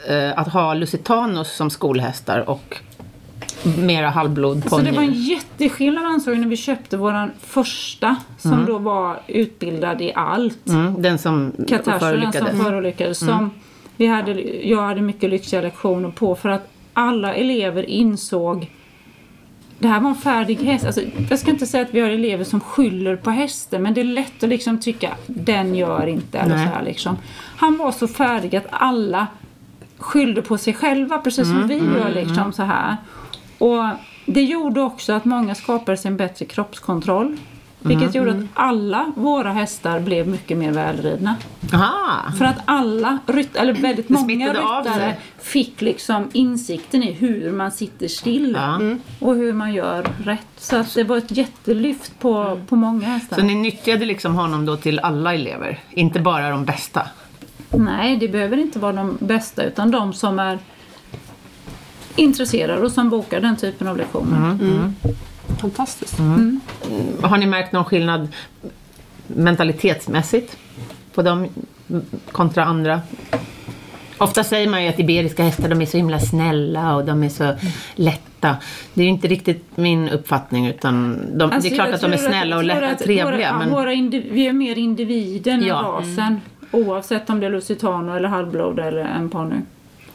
eh, att ha Lusitanos som skolhästar och mera Så det var en halvblodponnyer? jätteskillnad ansåg jag när vi köpte våran första som då var utbildad i allt. Mm, den som Katarserna som Mm. förolyckades? förolyckades. Som vi hade, jag hade mycket lyxiga lektioner på för att alla elever insåg det här var en färdig häst. Alltså, jag ska inte säga att vi har elever som skyller på hästen men det är lätt att liksom tycka den gör inte. Eller så Nej. här, liksom. Han var så färdig att alla skyllde på sig själva precis som vi gör. Liksom, så här. Och Det gjorde också att många skapade sig en bättre kroppskontroll. Vilket gjorde att alla våra hästar blev mycket mer välridna. Aha. För att alla, rytt, eller väldigt många smittade av ryttare sig. fick liksom insikten i hur man sitter still Ja. och hur man gör rätt. Så att det var ett jättelyft på, på många hästar. Mm. Så ni nyttjade liksom honom då till alla elever, inte bara de bästa? Nej, det behöver inte vara de bästa utan de som är intresserade och som bokar den typen av lektioner. Mm. Fantastiskt. Har ni märkt någon skillnad mentalitetsmässigt på dem kontra andra? Ofta säger man ju att iberiska hästar de är så himla snälla och de är så lätta. Det är ju inte riktigt min uppfattning utan de, Alltså, det är klart jag att de är tror snälla och jag tror lätta, att trevliga. Våra, men, våra indiv- vi är mer individen Ja. Mm. än rasen. Oavsett om det är lusitano eller halvblod eller en ponny.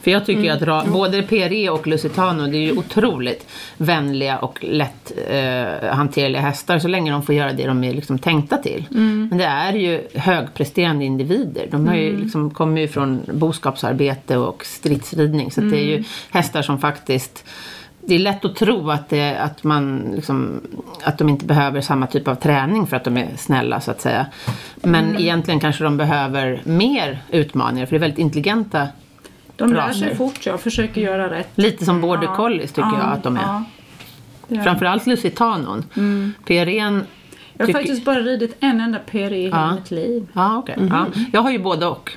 För jag tycker ju att ra, både PRE och Lusitano det är ju otroligt vänliga och lätt eh, hanterliga hästar så länge de får göra det de är liksom tänkta till. Men det är ju högpresterande individer. De har ju liksom, kommer ju från boskapsarbete och stridsridning så att det är ju hästar som faktiskt det är lätt att tro att, det, att, man liksom, att de inte behöver samma typ av träning för att de är snälla så att säga. Men egentligen kanske de behöver mer utmaningar för det är väldigt intelligenta De lär sig raser. fort, jag försöker göra rätt. Lite som border collies tycker Ja, jag att de är. ja. Det är- Framförallt lusitanon. Mm. PRN Jag har tycker- faktiskt bara ridit en enda PRE i hela Ja. mitt liv. Ja, okej. Mm. ja. Jag har ju både och.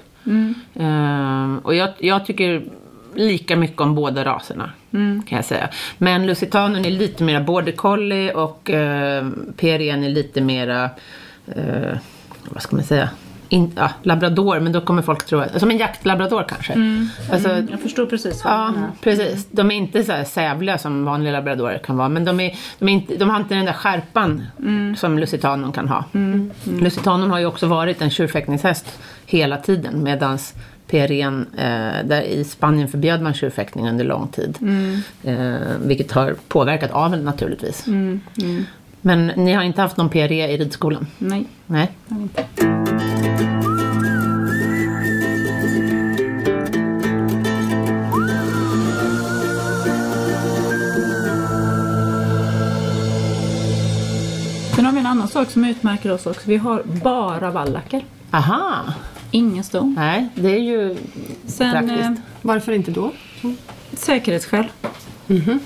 Ehm, och jag, jag tycker lika mycket om båda raserna. Mm. Kan jag säga. Men Lusitanen är lite mera border collie och uh, PRN är lite mera, eh, vad ska man säga, In, ja, labrador. Men då kommer folk tro att, som en jaktlabrador kanske. Mm. Alltså, Jag förstår precis vad Ja, du menar. precis. De är inte så här sävliga som vanliga labradorer kan vara. Men de, är, de, är inte, de har inte den där skärpan som lusitanon kan ha. mm. Lusitanon har ju också varit en tjurfäktningshäst hela tiden. medans PRN, eh, där i Spanien förbjöd man tjurfäktning under lång tid. Eh, vilket har påverkat aveln naturligtvis. mm. Men ni har inte haft någon PRE i ridskolan? Nej. Nej. Sen har vi en annan sak som utmärker oss också. Vi har bara vallacker. Aha, Ingen ston. nej, det är ju Sen Praktiskt. eh, Varför inte då? säkerhetsskäl. Mhm.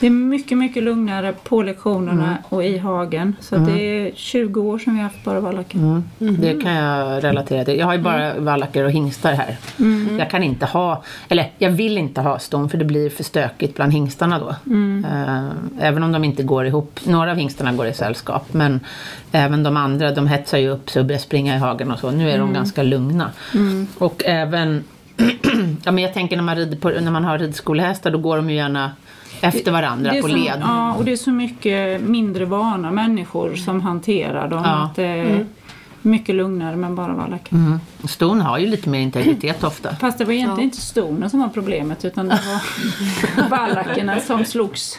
Det är mycket, mycket lugnare på lektionerna Mm. och i hagen. Så att det är 20 år sedan vi har haft bara vallacker. Mm. Mm. Det kan jag relatera till. Jag har ju bara vallacker och hingstar här. Mm. Jag kan inte ha, eller jag vill inte ha ston för det blir för stökigt bland hingstarna då. Mm. Eh, även om de inte går ihop. Några av hingstarna går i sällskap men även de andra de Mm. hetsar ju upp sig och börjar springa i hagen och så. Nu är de ganska lugna. Och även ja, men jag tänker när man, rider på, när man har ridskolehästar, då går de ju gärna efter varandra Det är på så, led. Ja, och det är så mycket mindre vana människor som hanterar dem. Ja. Att det är Mycket lugnare men bara vara läcker. Mm. Ston har ju lite mer integritet ofta. Fast det var egentligen inte stonen som var problemet utan det var ballackerna som slogs.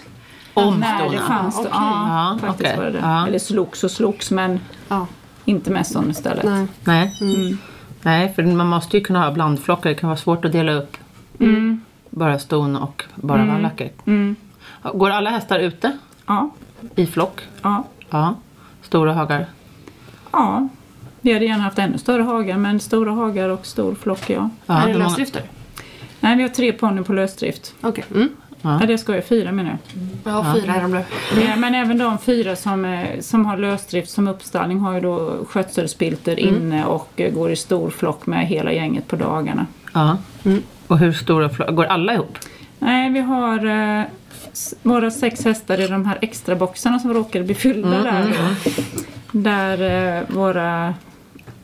Om När det stona. fanns då. Ja, Ja, faktiskt okej. var det det. Ja. Eller slogs och slogs men Ja. inte med ston istället. Nej. Nej. Nej, för man måste ju kunna ha blandflockar. Det kan vara svårt att dela upp bara ston och bara vallacker. Mm. Går alla hästar ute Ja, i flock? ja, Ja. Stora hagar? ja. Vi hade gärna haft ännu större hagar men stora hagar och stor flock ja. Ja, är det hur många- lösdrifter? Nej vi har tre ponnyer på lösdrift. Okej. Mm. Ja. Ja. det ska jag fyra menar jag. Jag har fyra häromdagen. Ja, men även de fyra som, eh, som har lösdrift som uppstallning har ju då skötselspilter inne och eh, går i stor flock med hela gänget på dagarna. Ja. Och hur stora flockar? Går alla ihop? Nej, vi har eh, s- våra sex hästar i de här extra boxarna som råkade bli fyllda Mm, där. då. Där eh, våra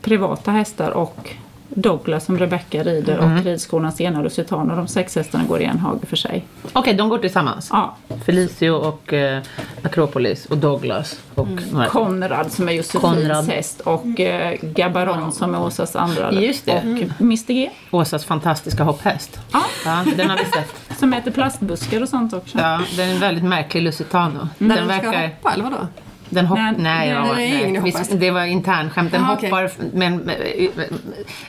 privata hästar och Douglas som Rebecca rider Mm. och ridskolans ena Lusitana, de sex hästarna går i en hage för sig. Okej, de går tillsammans? Ja, Felicio och eh, Akropolis och Douglas och några Konrad som är Josefins Konrad. häst och eh, Gabaron som är Åsas andra. Just det. Och Mr G Åsas fantastiska hopphäst. Mm. Ja. den har vi sett. som äter plastbuskar och sånt också. Ja, den är en väldigt märklig Lusitano. När Den de ska verkar... hoppa eller vadå? Den hopp... Nej, Nej, nej, ja, det är ingen nej. hoppas. Vi, det var internskämt. Den Ah, okej. hoppar, men... men-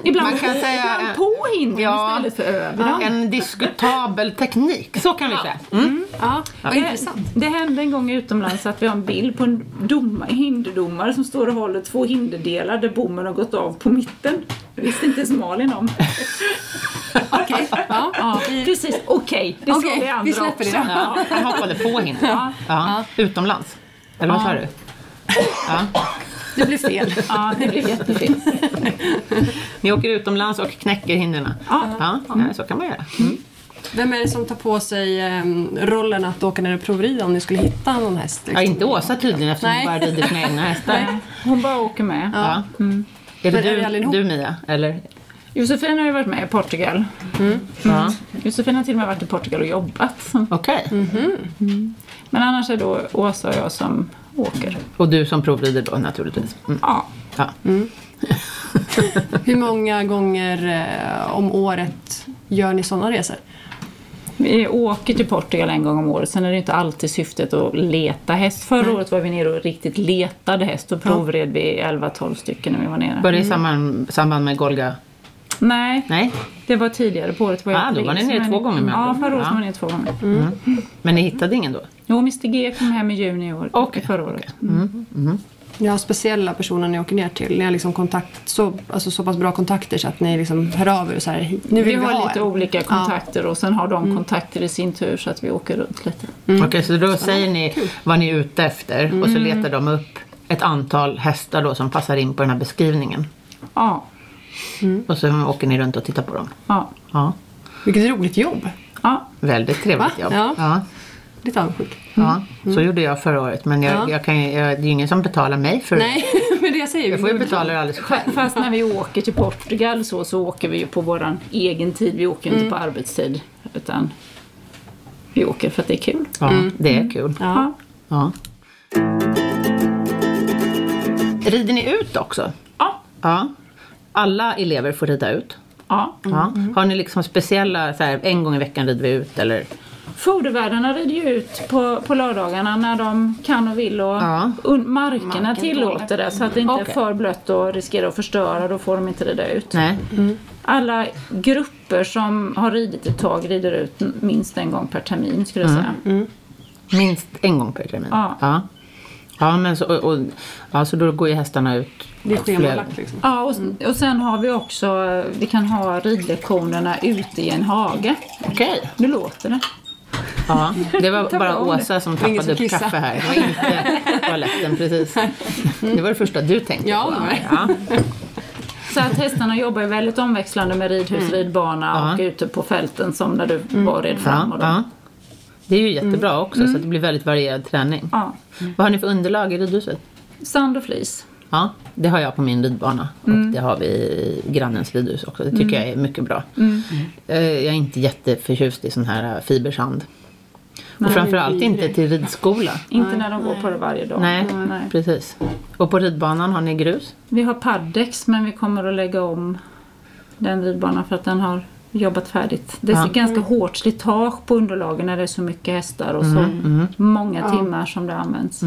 Ibland, man kan säga... eh, ibland på hindren ja. istället för över. eh, En diskutabel teknik, så kan vi säga. Mm. Ja, vad Det- intressant. Det hände en gång utomlands att vi har en bild på en doma, hinderdomare som står och håller två hinderdelar där bommen har gått av på mitten. Det visste inte ens Malin om. Okej. Ja. Ja, precis. Okej, det Okej, sa vi andra vi släpper också. det. Ja, han hoppade på hindret. Ja. Utomlands. Eller vad sa du? Det blev fel. Ja, det blev jättefint. Ni åker utomlands och knäcker hindren. Ja. Ja, nej, så kan man göra. Mm. Vem är det som tar på sig ehm, rollen att åka ner och provrida om ni skulle hitta någon häst? Ja, liksom? inte Åsa tydligen eftersom hon bara Nej. rider sina egna hästar. Nej, Hon bara åker med. Ja. Är Men är vi det du, allihop? du Mia? Eller? Josefin har ju varit med i Portugal. Ja. Josefin har till och med varit i Portugal och jobbat. Okej. Men annars är då Åsa och jag som åker. Och du som provrider då naturligtvis. Mm. Ja, Ja. Hur många gånger eh, om året gör ni sådana resor? Vi åker till Portugal en gång om året, sen är det inte alltid syftet att leta häst. Förra året var vi nere och riktigt letade häst, då provred vi 11-12 stycken när vi var nere. Var det i samband, samband med Golga? Nej, Nej. det var tidigare på året. Var jag Ah, då var tre, ni nere men- två gånger med Ja, andra förra ord. året Ja. var ni nere två gånger. Men ni hittade ingen då? Jo, Mr G kom hem i juni i år, Okej, förra året. Mm. Ni har speciella personer ni åker ner till? Ni har liksom kontakt, så, alltså så pass bra kontakter så att ni liksom hör av er och så här, "Hej, nu Vi vill vi, har ha lite en. olika kontakter och sen har de Mm. kontakter i sin tur så att vi åker runt lite. Mm. Okej, så då säger ni vad ni är ute efter och så letar de upp ett antal hästar då som passar in på den här beskrivningen. Ja, Mm. Och så åker ni runt och tittar på dem. ja, Ja. Vilket roligt jobb! ja. Väldigt trevligt Va? jobb. Ja. Mm. Ja. Lite avundsjuk. Ja, så gjorde jag förra året. Men jag, Ja. jag kan, ju- jag, det är ju ingen som betalar mig för Nej, men det jag säger. Jag får ju betala det alldeles själv. Fast när vi åker till Portugal så, så åker vi ju på vår egen tid. Vi åker ju inte Mm. på arbetstid. Utan vi åker för att det är kul. Ja, det är kul. Mm. Ja. Ja. Rider ni ut också? Ja. Ja. Alla elever får rida ut. ja. Ja. Mm. Har ni liksom speciella, så här, en gång i veckan rider vi ut eller? Fodervärdarna rider ju ut på, på lördagarna när de kan och vill och Ja. un, markerna tillåter det så att det inte Okej. är för blött och riskerar att förstöra. Då får de inte rida ut. Nej. Alla grupper som har ridit ett tag rider ut n- minst en gång per termin skulle Mm. jag säga. Minst en gång per termin? Ja. Ja, Ja, men så, och, och, ja, så då går ju hästarna ut. Det är flera- schemalagt liksom. Ja, och, Mm. och sen har vi också, eh, vi kan ha ridlektionerna ute i en hage. Okej. Nu låter det. Ja, det var Ta bara bra om det. Åsa som Det var ingen tappade som upp kissade. kaffe här. Det var inte toaletten precis. Det var det första du tänkte Ja, på. det var det. Ja. Så att hästarna jobbar ju väldigt omväxlande med ridhus, ridbana och ute på fälten som när du var red fram. Mm. Ja, Och då. ja. Det är ju jättebra också så att det blir väldigt varierad träning. Ja. Vad har ni för underlag i ridhuset? Sand och flis. Ja, det har jag på min ridbana och det har vi i grannens ridhus också. Det tycker jag är mycket bra. Eh, Jag är inte jätteförtjust i sån här eh, fibersand. och framförallt inte till ridskola. Inte när de går på det varje dag. Nej, precis. Och på ridbanan har ni grus? Vi har Paddex men vi kommer att lägga om den ridbanan för att den har jobbat färdigt. Det är Ja. ganska hårt slitage på underlagen när det är så mycket hästar och så Mm. många timmar som det används.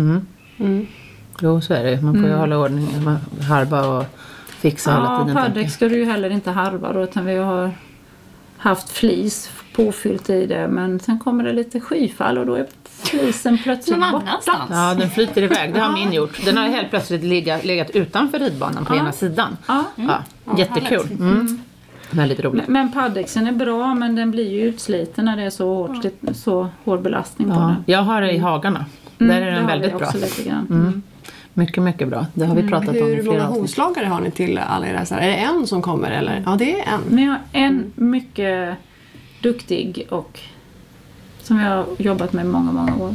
Jo, så är det. Man får ju hålla ordning, man harva och fixa hela Ja, tiden. tänker jag. Paddex ska du ju heller inte harva då utan vi har haft flis påfyllt i det men sen kommer det lite skyfall och då är flisen plötsligt Någon borta. annanstans. Ja, den flyter iväg. Det har min gjort. Den har helt plötsligt legat, legat utanför ridbanan på ena sidan. Ja. Ja, jättekul. Mm. Väldigt roligt. Men paddexen är bra men den blir ju utsliten när det är så, hårt, så hård belastning på Ja, den. jag har det i hagarna. Där är Mm, det den har väldigt vi bra. Mm. också Lite grann. Mycket, mycket bra. Det har vi pratat om i Hur många flera avsnitt. hovslagare har ni till alla era hästar? Är det en som kommer eller? Ja, det är en. Men jag har en mycket duktig och som jag har jobbat med i många, många Mm. år.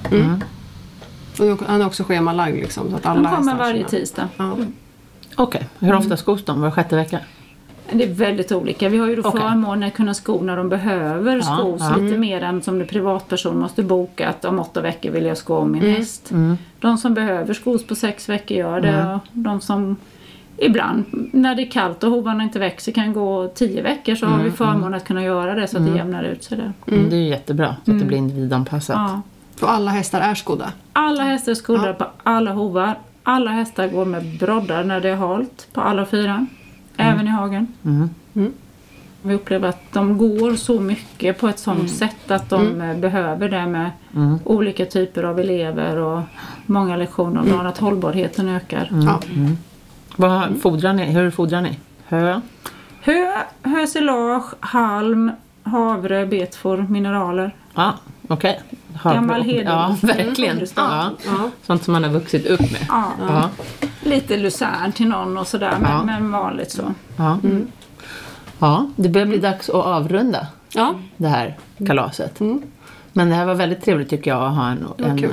Och han är också schemalagd liksom. Så att alla De kommer hästar har varje sina- tisdag. Ja. Okej, hur ofta skos de? Var sjätte vecka? Det är väldigt olika. Vi har ju då Okej. förmånen att kunna sko när de behöver Ja, skos ja. lite mer än som du privatperson måste boka att om åtta veckor vill jag sko om min häst. Mm. De som behöver skos på sex veckor gör det. Och de som ibland när det är kallt och hovarna inte växer kan gå tio veckor så har vi förmånen att kunna göra det så att det jämnar ut sig där. Mm, Det är ju jättebra, så att det blir individanpassat. Ja. Och alla hästar är skodda. Alla hästar är skodda på alla hovar. Alla hästar går med broddar när det är halt på alla fyra. Mm. Även i hagen. Vi upplever att de går så mycket på ett sånt Mm. sätt att de eh, behöver det med olika typer av elever och många lektioner om dagen. Att Mm. hållbarheten ökar. Ja. Vad fodrar ni? Hur fodrar ni? Hö? Hö, hösilage, halm, havre, betfor, mineraler. Ja, okej. Har- Gammal heder. Ja, verkligen. Mm. Ja. Ja. Sånt som man har vuxit upp med. Ja, Ja. Lite lucern till någon och sådär men, Ja. men vanligt så. Ja. ja, det börjar bli dags att avrunda Ja. det här kalaset. Men det här var väldigt trevligt tycker jag att ha en, en, kul.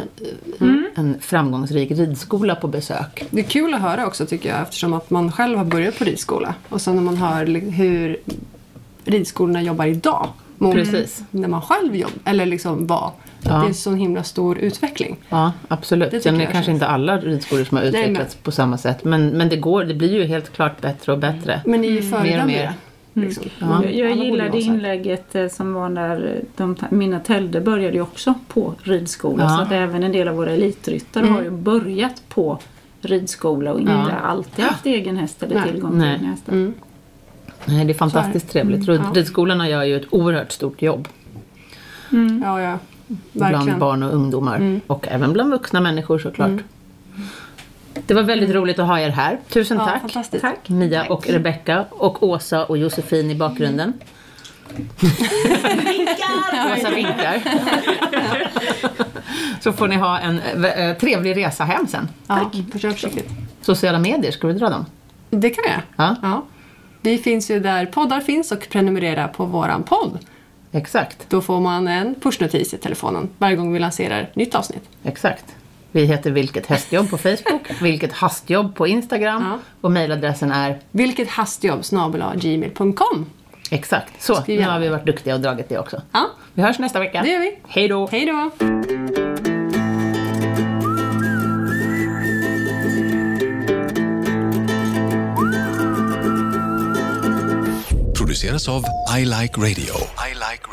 en, en framgångsrik ridskola på besök. Det är kul att höra också tycker jag eftersom att man själv har börjat på ridskola. Och sen när man hör li- hur ridskolorna jobbar idag. mot Precis. När man själv jobb, eller liksom var. Ja. Det är en sån himla stor utveckling. Ja, absolut. Det, tycker Sen är det jag kanske känns- inte alla ridskolor som har men- utvecklats på samma sätt. Men, men det går, det blir ju helt klart bättre och bättre. Men ni är ju Mm. Mer föredömliga. och Liksom. Ja. Jag, jag Alla borde gillar det vara så här. inlägget eh, som var när de, ta- mina tälde började ju också på ridskola. Ja. Mm. Så att även en del av våra elitryttare har ju börjat på ridskola och inte Ja. alltid haft egen häst eller Nej. tillgång till Nej. Mm. egna hästar. Nej, det är fantastiskt Mm, trevligt. Rid, Ridskolorna gör ju ett oerhört stort jobb. Mm. Ja, ja. Bland Verkligen. Mm. barn och ungdomar. Och även bland vuxna människor såklart. Det var väldigt roligt att ha er här. Tusen Ja, tack. fantastiskt. Tack. Mia och Rebecca och Åsa och Josefin i bakgrunden. Mm. Åsa vinkar. Så får ni ha en eh, trevlig resa hem sen. Tack. Ja, försök försiktigt. Sociala medier, ska vi dra dem? Det kan vi göra. Ja. Vi finns ju där poddar finns och prenumerera på våran podd. Exakt, Då får man en pushnotis i telefonen varje gång vi lanserar nytt avsnitt. exakt. Vi heter Vilket hästjobb på Facebook, Vilket hastjobb på Instagram Ja. och mejladressen är Vilket hastjobb snabel-a gmail.com. exakt. Så, Skriv nu gärna. har vi varit duktiga och dragit det också. Ja, Vi hörs nästa vecka. det gör vi. Hej då! Hej då! produceras av I Like Radio. I like